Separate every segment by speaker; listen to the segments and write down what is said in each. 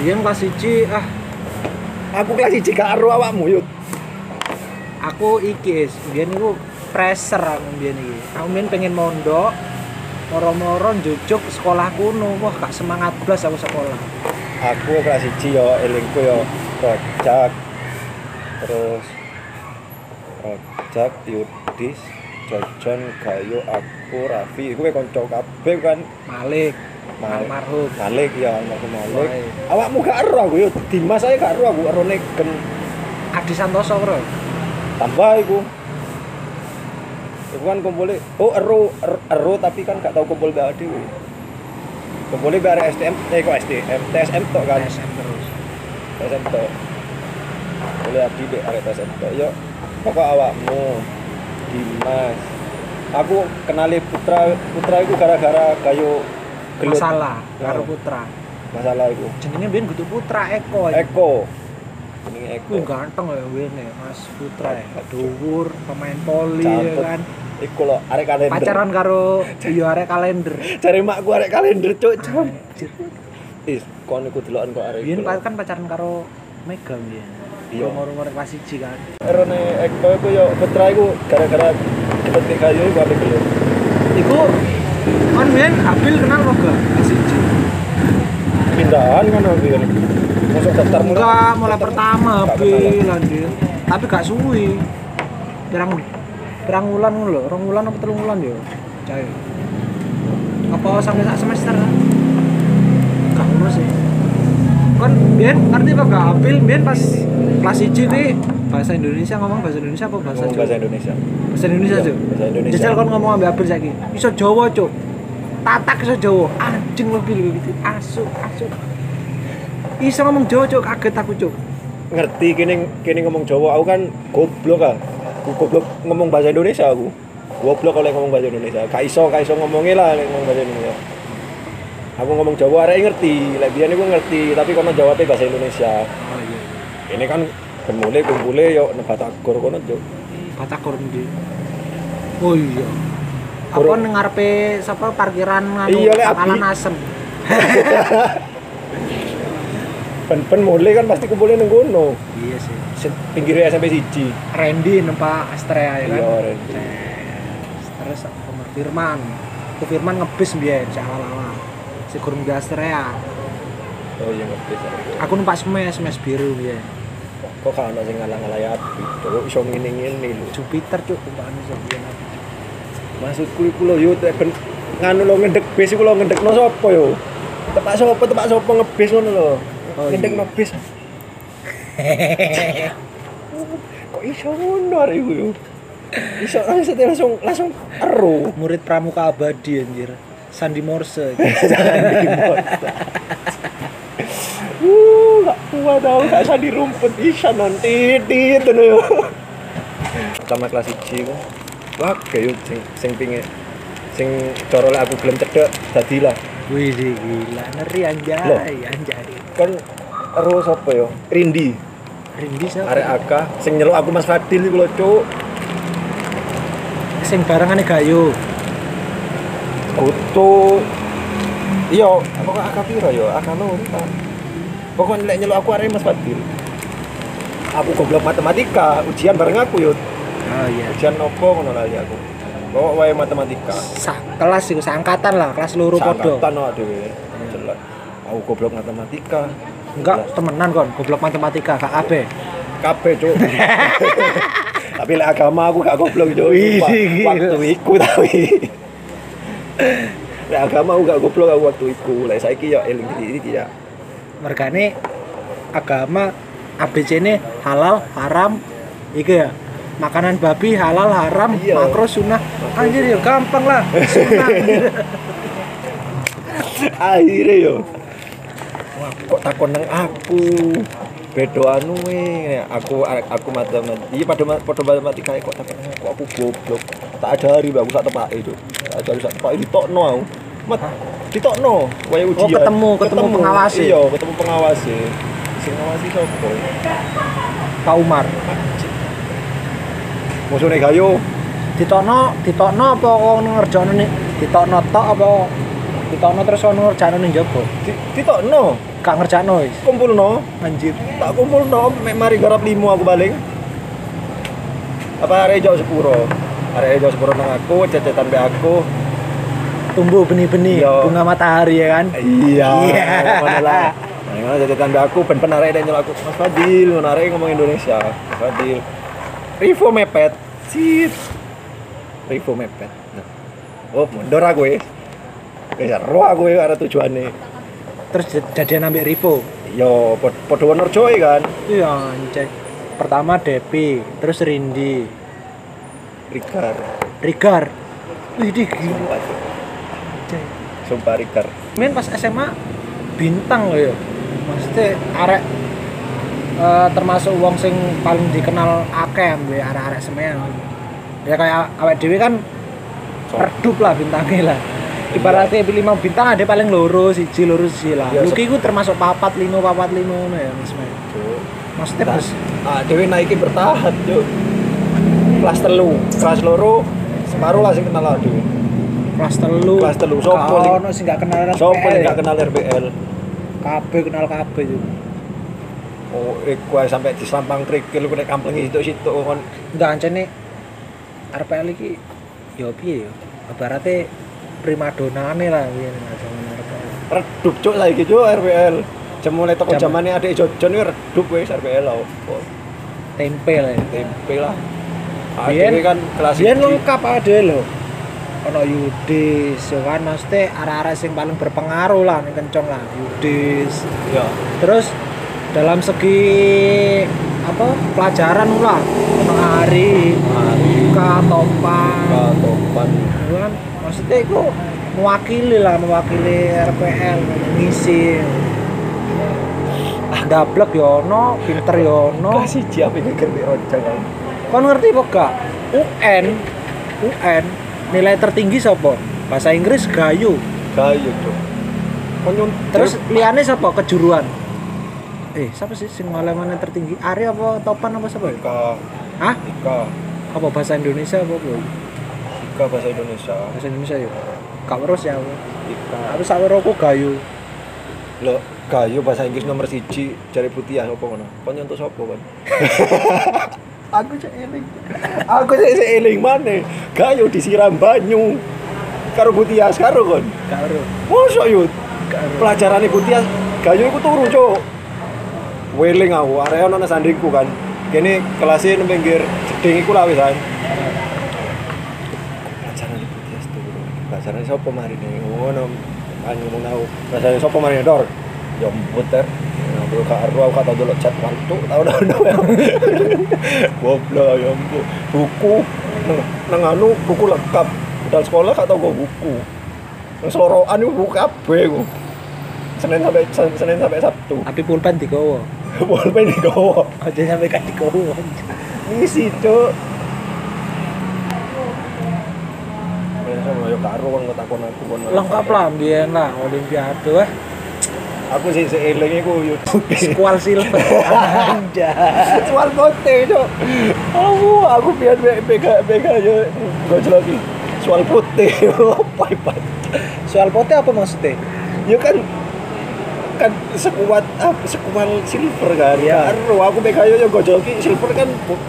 Speaker 1: biyen kelas 1 ah
Speaker 2: Aku kelas 1 karo awakmu yut.
Speaker 1: aku iki is biyen iku pressure aku biyen iki aku biyen pengen mondok moro-moro njujuk sekolah kuno wah gak semangat blas aku sekolah
Speaker 2: Aku kelas 1 yo elingku yo Rojak. Terus Rojak, Yudis, Jojon, Gayo, aku, Raffi. Iku kanca kabeh kan.
Speaker 1: Malik
Speaker 2: Malik.
Speaker 1: almarhum
Speaker 2: Malik ya almarhum Malik.
Speaker 1: Baik.
Speaker 2: Awakmu gak ero aku yut. Dimas ae gak ero aku ero neken.
Speaker 1: Adi Santoso bro
Speaker 2: Tambah iku. Iku kan kumpulnya, oh ero, ero, ero tapi kan gak tau kumpul BA dhewe. Kumpulnya bareng STM, eh kok STM, TSM tok kan.
Speaker 1: TSM terus
Speaker 2: PSM tok. Boleh abdi dek arek PSM tok. Yo, pokok awakmu Dimas. Aku kenali Putra, Putra itu gara-gara kayu gelut.
Speaker 1: masalah karo
Speaker 2: Oh.
Speaker 1: putra
Speaker 2: Masalah itu.
Speaker 1: jenenge biyen kudu putra Eko ya.
Speaker 2: Eko. Ini Eko.
Speaker 1: Wih ganteng ya Win ya Mas Putra ya Dhuwur, pemain poli ya
Speaker 2: Cakep.
Speaker 1: kan
Speaker 2: Iku lo arek kalender.
Speaker 1: Pacaran karo iya arek kalender
Speaker 2: Cari makku arek kalender cuk jam.
Speaker 1: Anjir.
Speaker 2: Is, kon iku deloken kok arek.
Speaker 1: Biyen kan pacaran karo Mega biyen
Speaker 2: Iya.
Speaker 1: Umur-umur kelas 1 kan
Speaker 2: Erone Eko iku yo Putra iku gara-gara cepet kayak kayu iku arek gelut.
Speaker 1: Iku Kan biyen Abil kenal kok gak kelas 1
Speaker 2: Pindahan kan Abil. Masuk daftar mulu.
Speaker 1: Enggak, mulai pertama
Speaker 2: Gak kenal.
Speaker 1: Abil anjir Tapi gak suwi Pirang Pirang wulan ngono lho, rong wulan apa telung wulan ya? Cai. Apa sampai sak semester? Gak ngono sih. Kan biyen ngerti apa gak Abil biyen pas kelas 1 kuwi bahasa Indonesia ngomong bahasa Indonesia apa bahasa
Speaker 2: Ngomong
Speaker 1: Jawa?
Speaker 2: bahasa Indonesia.
Speaker 1: Bahasa Indonesia,
Speaker 2: Iya,
Speaker 1: Cuk.
Speaker 2: bahasa Indonesia.
Speaker 1: Jajal kon ngomong ambek Abil saiki. Iso Jawa, Cuk. Tatak iso Jawa. Anjing lebih lebih gitu. Asuk, asuk. Iso ngomong Jawa, Cuk. Kaget aku, Cuk.
Speaker 2: ngerti kini kini ngomong Jawa aku kan goblok ah aku goblok ngomong bahasa Indonesia aku goblok oleh ngomong bahasa Indonesia gak iso gak iso ngomongnya lah lek ngomong bahasa Indonesia aku ngomong Jawa arek e ngerti lek biyen aku ngerti tapi kono Jawa teh bahasa Indonesia
Speaker 1: Oh iya.
Speaker 2: ini kan gemule kumpule yo nebatagor kono yo
Speaker 1: Batakor iya. ndi? Oh iya. Apa
Speaker 2: Kurang-
Speaker 1: ning ngarepe sapa parkiran anu
Speaker 2: Iya, Lek,
Speaker 1: pangkalan
Speaker 2: Abi.
Speaker 1: asem.
Speaker 2: ben-ben mule kan pasti kumpule ning kono
Speaker 1: Iya sih.
Speaker 2: Se- pinggirnya SMP siji
Speaker 1: Randy nempak Astrea ya kan.
Speaker 2: Iya, Randy.
Speaker 1: Yes. Terus Umar Firman. Ke Firman ngebis biyen si awal-awal. Si gurung di Astrea.
Speaker 2: oh iya ngerti saya.
Speaker 1: Aku numpak smash, smash biru biyen.
Speaker 2: kok kan ono sing ngalang-alang ya Cuk, iso ngene-ngene lho
Speaker 1: Jupiter cuk tumpakan iso biyen aku.
Speaker 2: maksudku iku lho yo tek ben nganu lo ngendek bis iku lo ngendekno sapa yo tepak sapa tepak sapa ngebis ngono lho
Speaker 1: Oh, iya.
Speaker 2: ngendekno bis kok iso ngono arek iku yo iso langsung langsung langsung ero
Speaker 1: Murid pramuka abadi anjir. Sandi Morse.
Speaker 2: Uh, gak kuat tau, gak usah dirumput Bisa nanti, itu nih Sama kelas 1 ku Wah, kayak sing, sing pingin Sing coro lek aku gelem cedek, dadilah
Speaker 1: Wih sih, gila ngeri
Speaker 2: Loh.
Speaker 1: anjay, anjay.
Speaker 2: Kan, ero sapa yo? Rindi
Speaker 1: Rindi siapa?
Speaker 2: Arek Aka, sing nyeluk aku Mas Fadil iku lho, Cuk.
Speaker 1: Sing barangane gayo.
Speaker 2: Kutu. Iya, apa kok Aka piro yo? Aka lho, Pak. Pokoknya lek nyeluk aku arek Mas Fadil. Aku goblok matematika, ujian bareng aku yo.
Speaker 1: Oh iya.
Speaker 2: Ujian nopo ngono lali aku. Bawa wae matematika.
Speaker 1: Sa kelas iku seangkatan lah, kelas loro podo.
Speaker 2: Sangkatan awak dhewe. ya. Jelek. Aku goblok matematika.
Speaker 1: Enggak temenan kon, goblok matematika gak kabeh.
Speaker 2: Kabeh, Cuk. Tapi lek agama aku gak goblok, Cuk.
Speaker 1: Wih,
Speaker 2: Sumpah.
Speaker 1: gila.
Speaker 2: Waktu iku tapi. lek agama aku gak goblok aku waktu iku. Lek saiki ya eling iki ya.
Speaker 1: Mergane agama ABC ini halal, haram, iki ya. Makanan babi halal, haram,
Speaker 2: Iya.
Speaker 1: makro, sunnah. Anjir ya gampang lah. Sunnah.
Speaker 2: Akhirnya yo. Wah, kok takon nang aku. Bedo anu we. Aku aku matematika. Iya pada pada matematika kok takon nang aku aku goblok. Tak ada hari aku sak tepake itu. Tak ada hari sak tepake ditokno aku. Mat ditokno wae ujian.
Speaker 1: ketemu- ketemu pengawas e.
Speaker 2: Iya, ketemu pengawas e. Sing ngawasi sapa?
Speaker 1: Pak Umar.
Speaker 2: Musuhne Gayo.
Speaker 1: ditokno ditokno apa ono ngerjono nih ditokno tok apa ditokno terus ono ngerjano ning jaba
Speaker 2: Di- Ditokno.
Speaker 1: gak ngerjakno wis.
Speaker 2: kumpul no
Speaker 1: Anjir.
Speaker 2: tak kumpul no mek mari garap limo aku balik apa arek jauh sepuro arek jauh sepuro nang aku cecetan be aku
Speaker 1: Tumbuh benih-benih
Speaker 2: Iya.
Speaker 1: bunga matahari ya kan.
Speaker 2: iya
Speaker 1: Iya.
Speaker 2: mana lah mana cecetan be aku pen pen arek dan nyolak aku mas Fadil ngono arek ngomong Indonesia mas Fadil Rivo mepet sit Rivo mepet Nah. oh mundur aku ya Kayak roh aku ya arah tujuannya
Speaker 1: Terus jad- jadian ambek Ripo.
Speaker 2: Yo, pod podo honor coy kan.
Speaker 1: Iya, anjay. Pertama Depi, terus Rindi,
Speaker 2: Rikar.
Speaker 1: Rigar. Wih, di gila.
Speaker 2: Sumpah,
Speaker 1: anjay.
Speaker 2: sumpah Rikar.
Speaker 1: Main pas SMA bintang loh ya. Maksudnya arek eh, termasuk wong sing paling dikenal akeh mbek arek-arek semen. Ya kayak awet dhewe kan redup lah bintangnya lah. Ibaratnya lima bintang ada paling loro siji loro siji lah.
Speaker 2: Iya, so-
Speaker 1: Lucky ku termasuk papat limo papat limo ngono ya Mas Mai. Maksudnya
Speaker 2: Nah.
Speaker 1: bos,
Speaker 2: Ah, Dewi naikin bertahap, Cuk. Kelas telu, kelas loro, separuh lah sing kenal lah Dewi.
Speaker 1: kelas telu.
Speaker 2: Kelas telu,
Speaker 1: Gak
Speaker 2: sopo sing-
Speaker 1: ono sing gak kenal RPL.
Speaker 2: Sopo yang gak kenal RBL?
Speaker 1: Kabeh kenal kabeh itu.
Speaker 2: Oh, eh, gua sampai di Sampang Kerikil, gua naik kampung itu situ kon.
Speaker 1: Enggak ancene RPL iki ya piye ya? Ibaratnya primadonane lah ngene zaman RPL.
Speaker 2: Redup Cuk saiki Cuk RBL. Jam mulai toko
Speaker 1: Jam-
Speaker 2: jamane adik Jojon iki redup wis RBL lah. Oh,
Speaker 1: Tempe lah ya.
Speaker 2: tempe lah. Ah,
Speaker 1: Biyen-
Speaker 2: Dewi kan kelas
Speaker 1: Biyen
Speaker 2: siji.
Speaker 1: lengkap aja lho. Ono Yudis, ya kan maksudnya arah-arah yang paling berpengaruh lah ning kencong lah Yudis.
Speaker 2: Ya.
Speaker 1: Terus dalam segi apa pelajaran lah ono Ari,
Speaker 2: Mari
Speaker 1: Yuka, Topang,
Speaker 2: ka topan.
Speaker 1: ya kan maksudnya itu mewakili lah mewakili RPL ngisi ah dablek ya ono pinter ya ono
Speaker 2: Kasih siapa yang ngegerti rojang
Speaker 1: kon ngerti kok gak UN UN nilai tertinggi sapa bahasa Inggris gayu
Speaker 2: Kayu tuh Konyol
Speaker 1: terus liane sapa kejuruan eh siapa sih sing malah mana tertinggi Ari apa Topan apa sapa ya?
Speaker 2: Ika
Speaker 1: Hah?
Speaker 2: Ika
Speaker 1: Apa bahasa Indonesia apa apa?
Speaker 2: Ika bahasa Indonesia
Speaker 1: Bahasa Indonesia ya. Kak terus ya. aku.
Speaker 2: Ika
Speaker 1: Aku saweroku gayu.
Speaker 2: Lo Kayu bahasa Inggris nomor siji Jari putih ya Apa kono Konyol untuk sopo kan Aku cek eling Aku cek cek eling mana Kayu disiram banyu Karo putih ya Karo kan
Speaker 1: Kak Ro.
Speaker 2: Masa yuk
Speaker 1: Kak Ro.
Speaker 2: Pelajaran ibu Tias Gayu iku turu cok Weling aku Area nana sandiku kan Kini kelasnya nang pinggir Jeding iku lah wis kan Pelajaran ibu Tias turu Pelajaran sopo mari nih Ngono Kan ngomong aku Pelajaran sopo mari nih Dor Ya puter Aku kak Arwa aku kata dulu chat waktu tau tau tau ya Goblok ya ampun Buku nang- Nang anu buku lengkap Budal sekolah kata gue buku Sorokan itu buku kabeh ku. Senin sampai Sen- Senin sampai Sabtu.
Speaker 1: Tapi pulpen digowo.
Speaker 2: Bolpen digowo.
Speaker 1: Aja sampai gak digowo.
Speaker 2: Ngisi, Cuk. Biasa mau yo karo kon ngetakon aku kon.
Speaker 1: Lengkap lah mbiyen lah olimpiade wah.
Speaker 2: Aku sih seeling iku yo.
Speaker 1: Skual silver. Anda.
Speaker 2: Soal bote, Cuk. Aku aku biar BK BK yo gojlok iki. Soal putih, pai pai.
Speaker 1: Soal pote apa maksudnya?
Speaker 2: Ya kan kan sekuat apa sekuat silver kan
Speaker 1: Iya.
Speaker 2: ya karo aku PKI yo gojoki silver kan bu-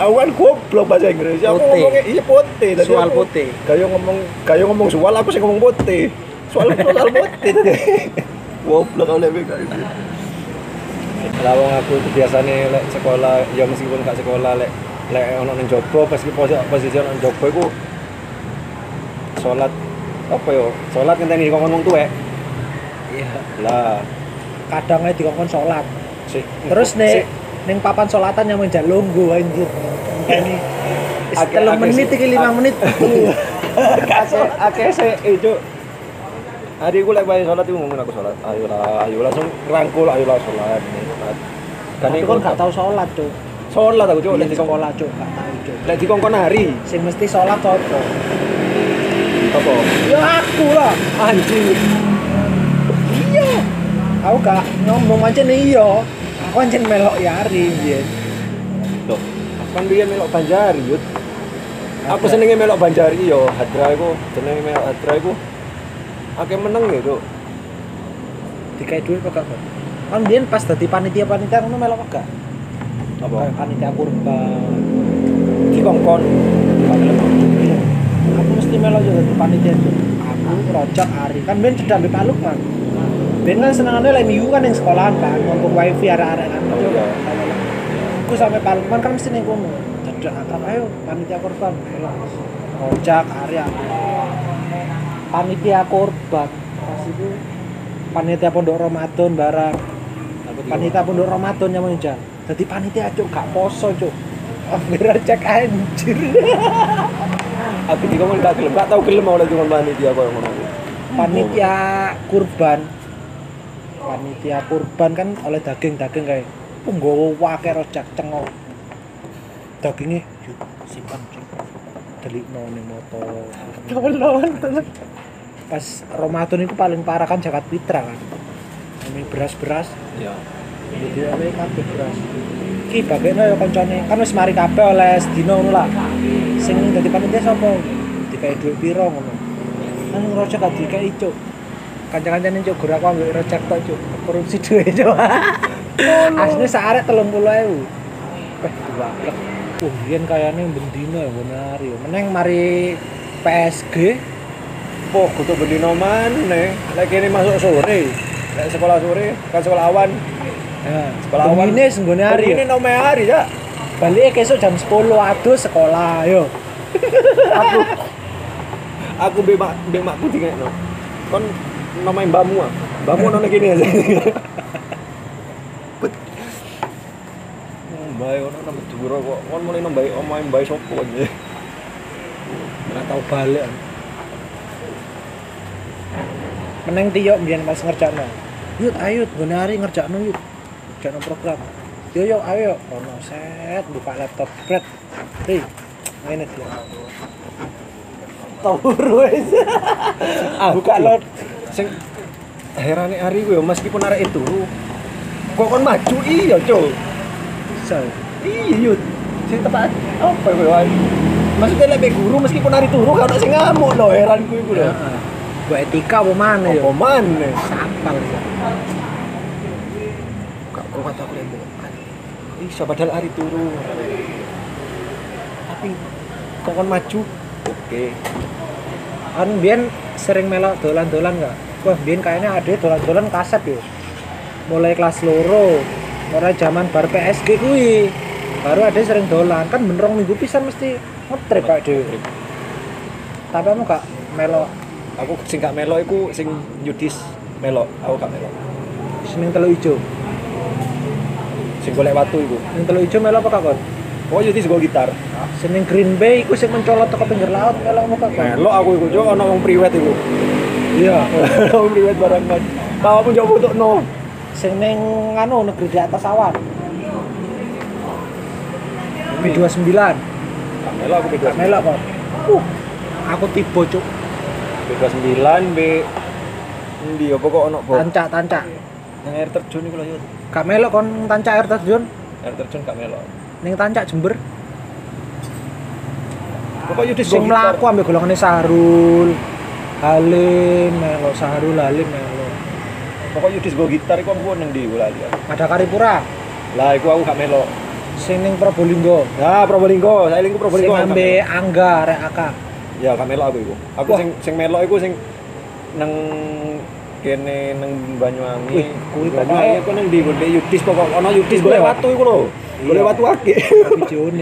Speaker 2: aku kan goblok bahasa Inggris aku
Speaker 1: Putih.
Speaker 2: ngomongnya iya putih Tadi
Speaker 1: Soal
Speaker 2: aku-
Speaker 1: putih.
Speaker 2: gayo ngomong gayo ngomong soal aku sih ngomong putih soal soal putih tadi goblok oleh PKI lawang aku itu biasanya lek sekolah ya meskipun gak sekolah lek lek ono nang jopo meski posisi posisi ono nang jopo iku salat apa yo salat ngenteni dikongkon wong tuwek
Speaker 1: Iya.
Speaker 2: lah
Speaker 1: Kadangnya dikongkon sholat.
Speaker 2: Sik.
Speaker 1: Terus nih
Speaker 2: Sik.
Speaker 1: neng papan sholatan yang menjak longgo anjir. Ini
Speaker 2: Agak-
Speaker 1: Setelah
Speaker 2: agak
Speaker 1: menit
Speaker 2: sih.
Speaker 1: iki lima menit.
Speaker 2: Ake ake se itu. Hari gue lagi bayar sholat itu ngomongin aku sholat. Ayolah, ayo langsung rangkul, ayolah sholat. nih, sholat. Kan
Speaker 1: Tapi
Speaker 2: ini
Speaker 1: kon gak tau sholat tuh.
Speaker 2: sholat aku coba
Speaker 1: Boleh
Speaker 2: lihat
Speaker 1: di
Speaker 2: di kongkong.
Speaker 1: sekolah cuk gak tau cuk.
Speaker 2: Lihat di kongkong hari.
Speaker 1: Sing mesti sholat sopo?
Speaker 2: Apa?
Speaker 1: Ya aku lah.
Speaker 2: Anjing.
Speaker 1: Iya. Aku gak ngomong aja nih iya. Aku anjir melok yari iya. biyen.
Speaker 2: Loh, aku kan dia melok banjari yut. Aku senengnya melok banjari yo. ya, Hadra aku senengnya melok hadra aku. Ake meneng gitu.
Speaker 1: dikai duit apa gak kan dia pas dadi panitia panitia ngono melok apa gak
Speaker 2: Apa?
Speaker 1: Kayak panitia kurba eh,
Speaker 2: Ki kongkon.
Speaker 1: aku mesti melok juga dadi panitia itu aku rojak Ari kan ben cedak mbek Pak Lukman ben kan senengane lek MU kan yang sekolahan kan ngomong wifi arek-arek kan
Speaker 2: Oh, iya.
Speaker 1: aku sampai Pak Lukman kan mesti ning kono cedak akrab ayo panitia kurban melok rojak Ari aku panitia korban pas itu panitia pondok Ramadan barang panitia pondok Ramadan yang menja jadi panitia cuk gak poso cuk Ambil cek anjir
Speaker 2: Aku juga mau tak gelem, gak tau gelem mau lagi ngomong panitia ya, kok ngono.
Speaker 1: panitia kurban panitia kurban kan oleh daging daging kayak punggowo wake rojak cengok dagingnya yuk simpan cuk delik nih motor pas Ramadan itu paling parah kan jakat pitra kan ini beras-beras
Speaker 2: Iya.
Speaker 1: Jadi apa ya kabeh beras. Ki bagene ya koncone, kan wis mari kabeh oleh sedina ngono lah. Sing dadi panitia sapa? Dikai duit piro ngono. Kan ngrojak gak dikai cuk. Kanca-kancane cuk gerak aku ambek rojak tok cuk. Korupsi duit cuk. Asline sak arek 30.000. Wah, Eh, dua plek. Wah, yen kayane bendino ya benar ya. Meneng mari PSG
Speaker 2: Poh, kutu bendino maneh. Lek ini masuk sore. Lek sekolah sore, kan sekolah awan.
Speaker 1: Nah,
Speaker 2: Sekolah awan.
Speaker 1: bendine senggone hari ya.
Speaker 2: Ini nomor hari ya.
Speaker 1: Balik esok jam 10 aduh sekolah yo.
Speaker 2: Aku bemak bemakku dingekno. Kon namanya mbamu ah. Mbamu ono kene ya. Bet. Hmm, Mbae ono nang Madura kok. Kon mulai nang mbae omahe mbae sapa aja.
Speaker 1: Nggak tahu balik. Meneng tiyo mbiyen pas ngerjakno. Yut ayo ben hari ngerjakno yut. Ngerjakno program. Yo yo ayo ono set buka laptop pret. Ri. Ngene dia. Tawur wis. Ah, Buka lot.
Speaker 2: sing herane hari gue meskipun arek itu kok kon maju iya cok
Speaker 1: So,
Speaker 2: iya yut sing tepat apa gue wan maksudnya lebih guru meskipun hari turu kan sing ngamuk lo heran gue gue lo
Speaker 1: heeh. Buat etika apa mana yo?
Speaker 2: apa maneh
Speaker 1: Sampal.
Speaker 2: gak kok kata aku lembek iya padahal hari turu tapi kok kon maju oke
Speaker 1: Kan mbiyen sering melok dolan-dolan nggak? Wah, mbiyen kayaknya ade dolan-dolan kaset yo. Mulai kelas loro, mulai zaman bar PSG kuwi. Baru ade sering dolan, kan bener rong minggu pisan mesti
Speaker 2: Eh,
Speaker 1: ngetrip Pak Dewi. Tapi kamu gak melok
Speaker 2: aku sing gak melo iku sing yudis melo aku gak melo
Speaker 1: seneng telu ijo.
Speaker 2: sing golek watu iku
Speaker 1: Seneng telu ijo melok apa kakon?
Speaker 2: oh yudis gue gitar
Speaker 1: Seneng Green Bay iku sing mencolot teko pinggir laut melok apa kakon?
Speaker 2: Melo aku iku cok ana wong priwet iku.
Speaker 1: Iya.
Speaker 2: Wong priwet barang kan. Tahu aku njok fotono.
Speaker 1: Sing ning anu negeri di atas awan. B29.
Speaker 2: Melo aku
Speaker 1: Gak
Speaker 2: B29,
Speaker 1: melok kok. Uh, aku tiba cuk.
Speaker 2: B29 B Endi apa kok ono bo?
Speaker 1: tancak tancak
Speaker 2: Nang air terjun iku lho Yud.
Speaker 1: gak melok kon tancak air terjun
Speaker 2: Air terjun gak melo.
Speaker 1: ning tancak jember
Speaker 2: Pokok Yudis
Speaker 1: sing mlaku ambek golongane Sarul Halim melo Sarul Halim melo
Speaker 2: Pokok Yudis go gitar iku aku nang ndi lali. aku.
Speaker 1: ada Karipura
Speaker 2: Lah iku aku gak melo.
Speaker 1: sing ning Probolinggo
Speaker 2: Nah, Probolinggo, saya lingku
Speaker 1: sing
Speaker 2: Probolinggo. aku gak
Speaker 1: ambe
Speaker 2: melo.
Speaker 1: Angga rek AK
Speaker 2: Ya gak melo aku iku. Aku
Speaker 1: Wah.
Speaker 2: sing sing melo iku sing nang kene nang Banyuwangi.
Speaker 1: Wih, kuwi
Speaker 2: Banyuwangi
Speaker 1: pokoknya-
Speaker 2: aku nang ndi go Yudis pokok ono Yudis
Speaker 1: Yudis
Speaker 2: golek
Speaker 1: golek
Speaker 2: watu iku lho. Golek
Speaker 1: Iya.
Speaker 2: watu akeh.
Speaker 1: videone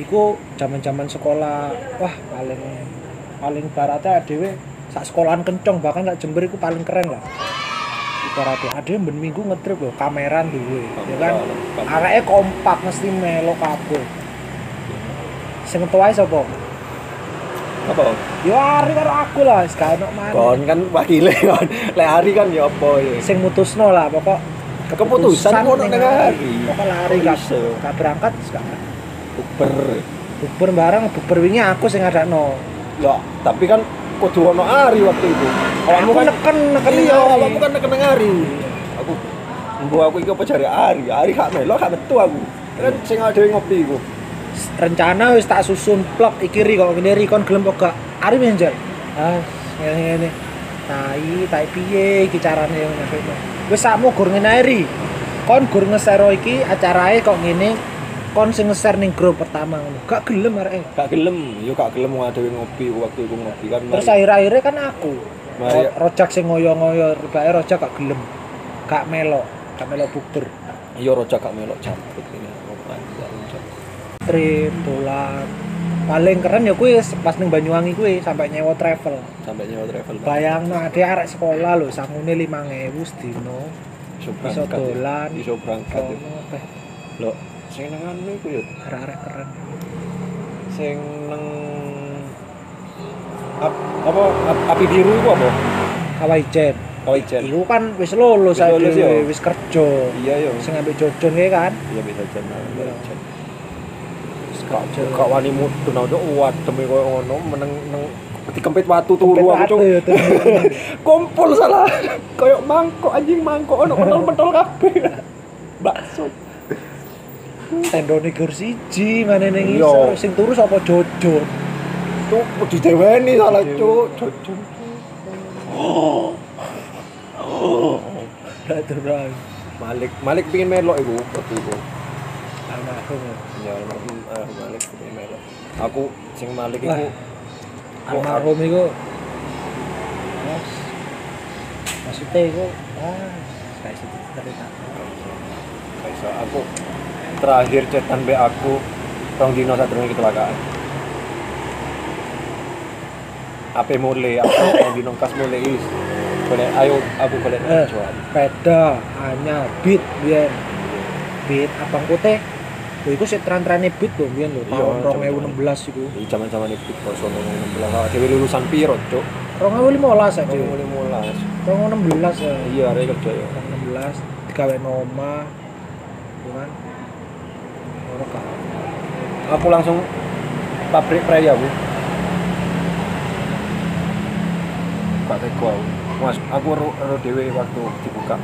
Speaker 1: iku zaman-zaman sekolah wah paling paling baratnya adewe sak sekolahan kencong bahkan sak jember iku paling keren lah ibaratnya adewe ben minggu ngetrip lho kameran duwe ya kan Areke kompak mesti melo kabeh. Sing tuwae sapa?
Speaker 2: Apa?
Speaker 1: Yo Ari karo aku lah, wis gak ono maneh.
Speaker 2: kon kan wakile kon lek hari kan ya apa ya
Speaker 1: Sing mutusno lah pokok
Speaker 2: Keputusan ono
Speaker 1: ning
Speaker 2: nang Ari.
Speaker 1: Pokok lari gak
Speaker 2: Iso.
Speaker 1: gak berangkat wis gak.
Speaker 2: uber
Speaker 1: Buber bareng buber wingi aku sing ngadakno.
Speaker 2: loh tapi kan kudu ono hari waktu itu awakmu
Speaker 1: Aku
Speaker 2: kan
Speaker 1: neken neken
Speaker 2: iya
Speaker 1: Ari.
Speaker 2: awakmu kan kena hari aku mbo aku iki apa jare hari hari gak melo gak metu aku kan sing dhewe ngopi iku
Speaker 1: rencana wis tak susun plek iki ri kok ngene ri kon gelem kok gak. Ari menjel. Ah, ngene ngene. tai tai piye iki carane yang ngene kok wis sakmu gur ngene ri kon gur ngesero iki acarae kok ngene kon sing ngeser ning grup pertama ngono gak gelem e. areke
Speaker 2: gak gelem yo gak gelem wong dhewe ngopi waktu iku ngopi kan
Speaker 1: terus akhir-akhirnya kan aku
Speaker 2: Mari-
Speaker 1: Ro- rojak sing ngoyo-ngoyo ribake rojak gak gelem gak melok gak melok bukber
Speaker 2: yo rojak gak melok jambut ini ngomongan, gak rojak.
Speaker 1: trip dolan paling keren ya kuwi pas ning Banyuwangi kuwi sampai nyewa travel
Speaker 2: sampai nyewa travel
Speaker 1: bayang no ada arek sekolah lho sangune 5000 sedino
Speaker 2: iso
Speaker 1: iso
Speaker 2: berangkat ya.
Speaker 1: dolan
Speaker 2: iso berangkat ya.
Speaker 1: kono teh
Speaker 2: lho sing nang anu iku yo
Speaker 1: arek-arek keren
Speaker 2: sing nang Ap- apa Ap- api biru iku apa Oh,
Speaker 1: kawai jen
Speaker 2: kawijen
Speaker 1: iku kan wis lulus
Speaker 2: Wis
Speaker 1: ae
Speaker 2: lulus
Speaker 1: dhewe,
Speaker 2: ya?
Speaker 1: wis kerja
Speaker 2: iya yo
Speaker 1: sing ambek jojon kae kan
Speaker 2: iya bisa jeneng
Speaker 1: Iya. wis kerja
Speaker 2: kok wani mudun aja wadem koyo ngono meneng neng dikempit watu turu aku
Speaker 1: Petate
Speaker 2: cung
Speaker 1: ya, tuh.
Speaker 2: kumpul salah koyo mangkok anjing mangkok ono pentol-pentol kabeh bakso
Speaker 1: tendone gur siji manene
Speaker 2: Iya.
Speaker 1: ngisor sing turu sapa jojon
Speaker 2: cuk kudu deweni salah cuk cuk cuk.
Speaker 1: gak terang
Speaker 2: Malik Malik pingin melok iku waktu iku
Speaker 1: almarhum ya.
Speaker 2: ya almarhum eh, Malik pingin melok aku sing Malik
Speaker 1: Lah.
Speaker 2: iku Kok
Speaker 1: almarhum iku Mas, maksudnya iku ah saya sedih cerita
Speaker 2: Gak iso. aku terakhir cetan be aku rong dino sadurunge kecelakaan apa mulai aku rong dino kas mulai is boleh ayo aku boleh
Speaker 1: Eh.
Speaker 2: jual
Speaker 1: peda hanya beat biar beat abang kute Lho iku sik tren-trene beat lho biyen lho
Speaker 2: Iya,
Speaker 1: tahun
Speaker 2: jaman-jaman.
Speaker 1: 2016 iku.
Speaker 2: di zaman zaman itu kosong enam belas lah dewi lulusan piro cok
Speaker 1: 2015 aja.
Speaker 2: mulai mulai
Speaker 1: 2016 ya.
Speaker 2: iya hari kerja ya
Speaker 1: 2016 digawe noma. Ya kan. Ngono kan.
Speaker 2: aku langsung pabrik prei aku gak tega aku mas aku ro, ro dewe waktu dibuka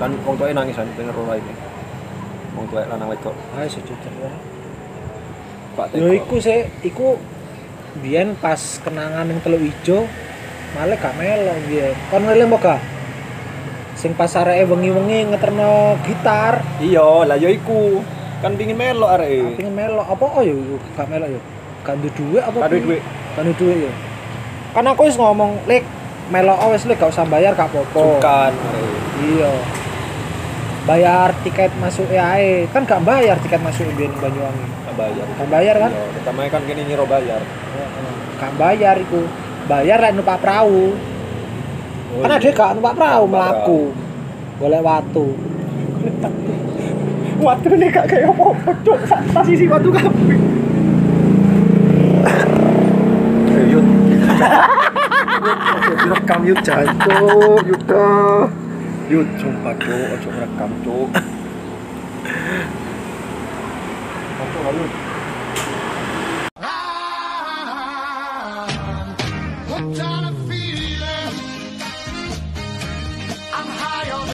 Speaker 2: kan wong tuanya nangis kan pengen ro ini wong tuanya lanang wedok
Speaker 1: Ayo sejujur ya.
Speaker 2: gak tega
Speaker 1: Lho iku sik iku biyen pas kenangan yang teluk ijo malah gak melo biyen. Kon ngeling apa gak? Sing pas areke wengi-wengi ngeterno gitar.
Speaker 2: iya lah ya iku kan pingin melok arek
Speaker 1: pengen melo apa oh yo yo, gak melo yo gak duwe duit apa
Speaker 2: kado duit
Speaker 1: gak duwe duit yo kan aku wis ngomong lek melo oh wis lek gak usah bayar gak apa-apa
Speaker 2: sukan arek
Speaker 1: iya bayar tiket masuk ae kan gak bayar tiket masuk biyen ning Banyuwangi
Speaker 2: gak bayar
Speaker 1: gak bayar kan
Speaker 2: Iya, pertama kan kini nyiro bayar
Speaker 1: gak bayar iku bayar lek numpak perahu kan ada gak numpak perahu
Speaker 2: Oh, Numpak
Speaker 1: melaku boleh watu
Speaker 2: waktu ini gak kayak apa-apa cok tak sisi waktu kapi yuk direkam yuk jancuk yuk dah yuk sumpah cok ojo merekam cok Cok, ayo.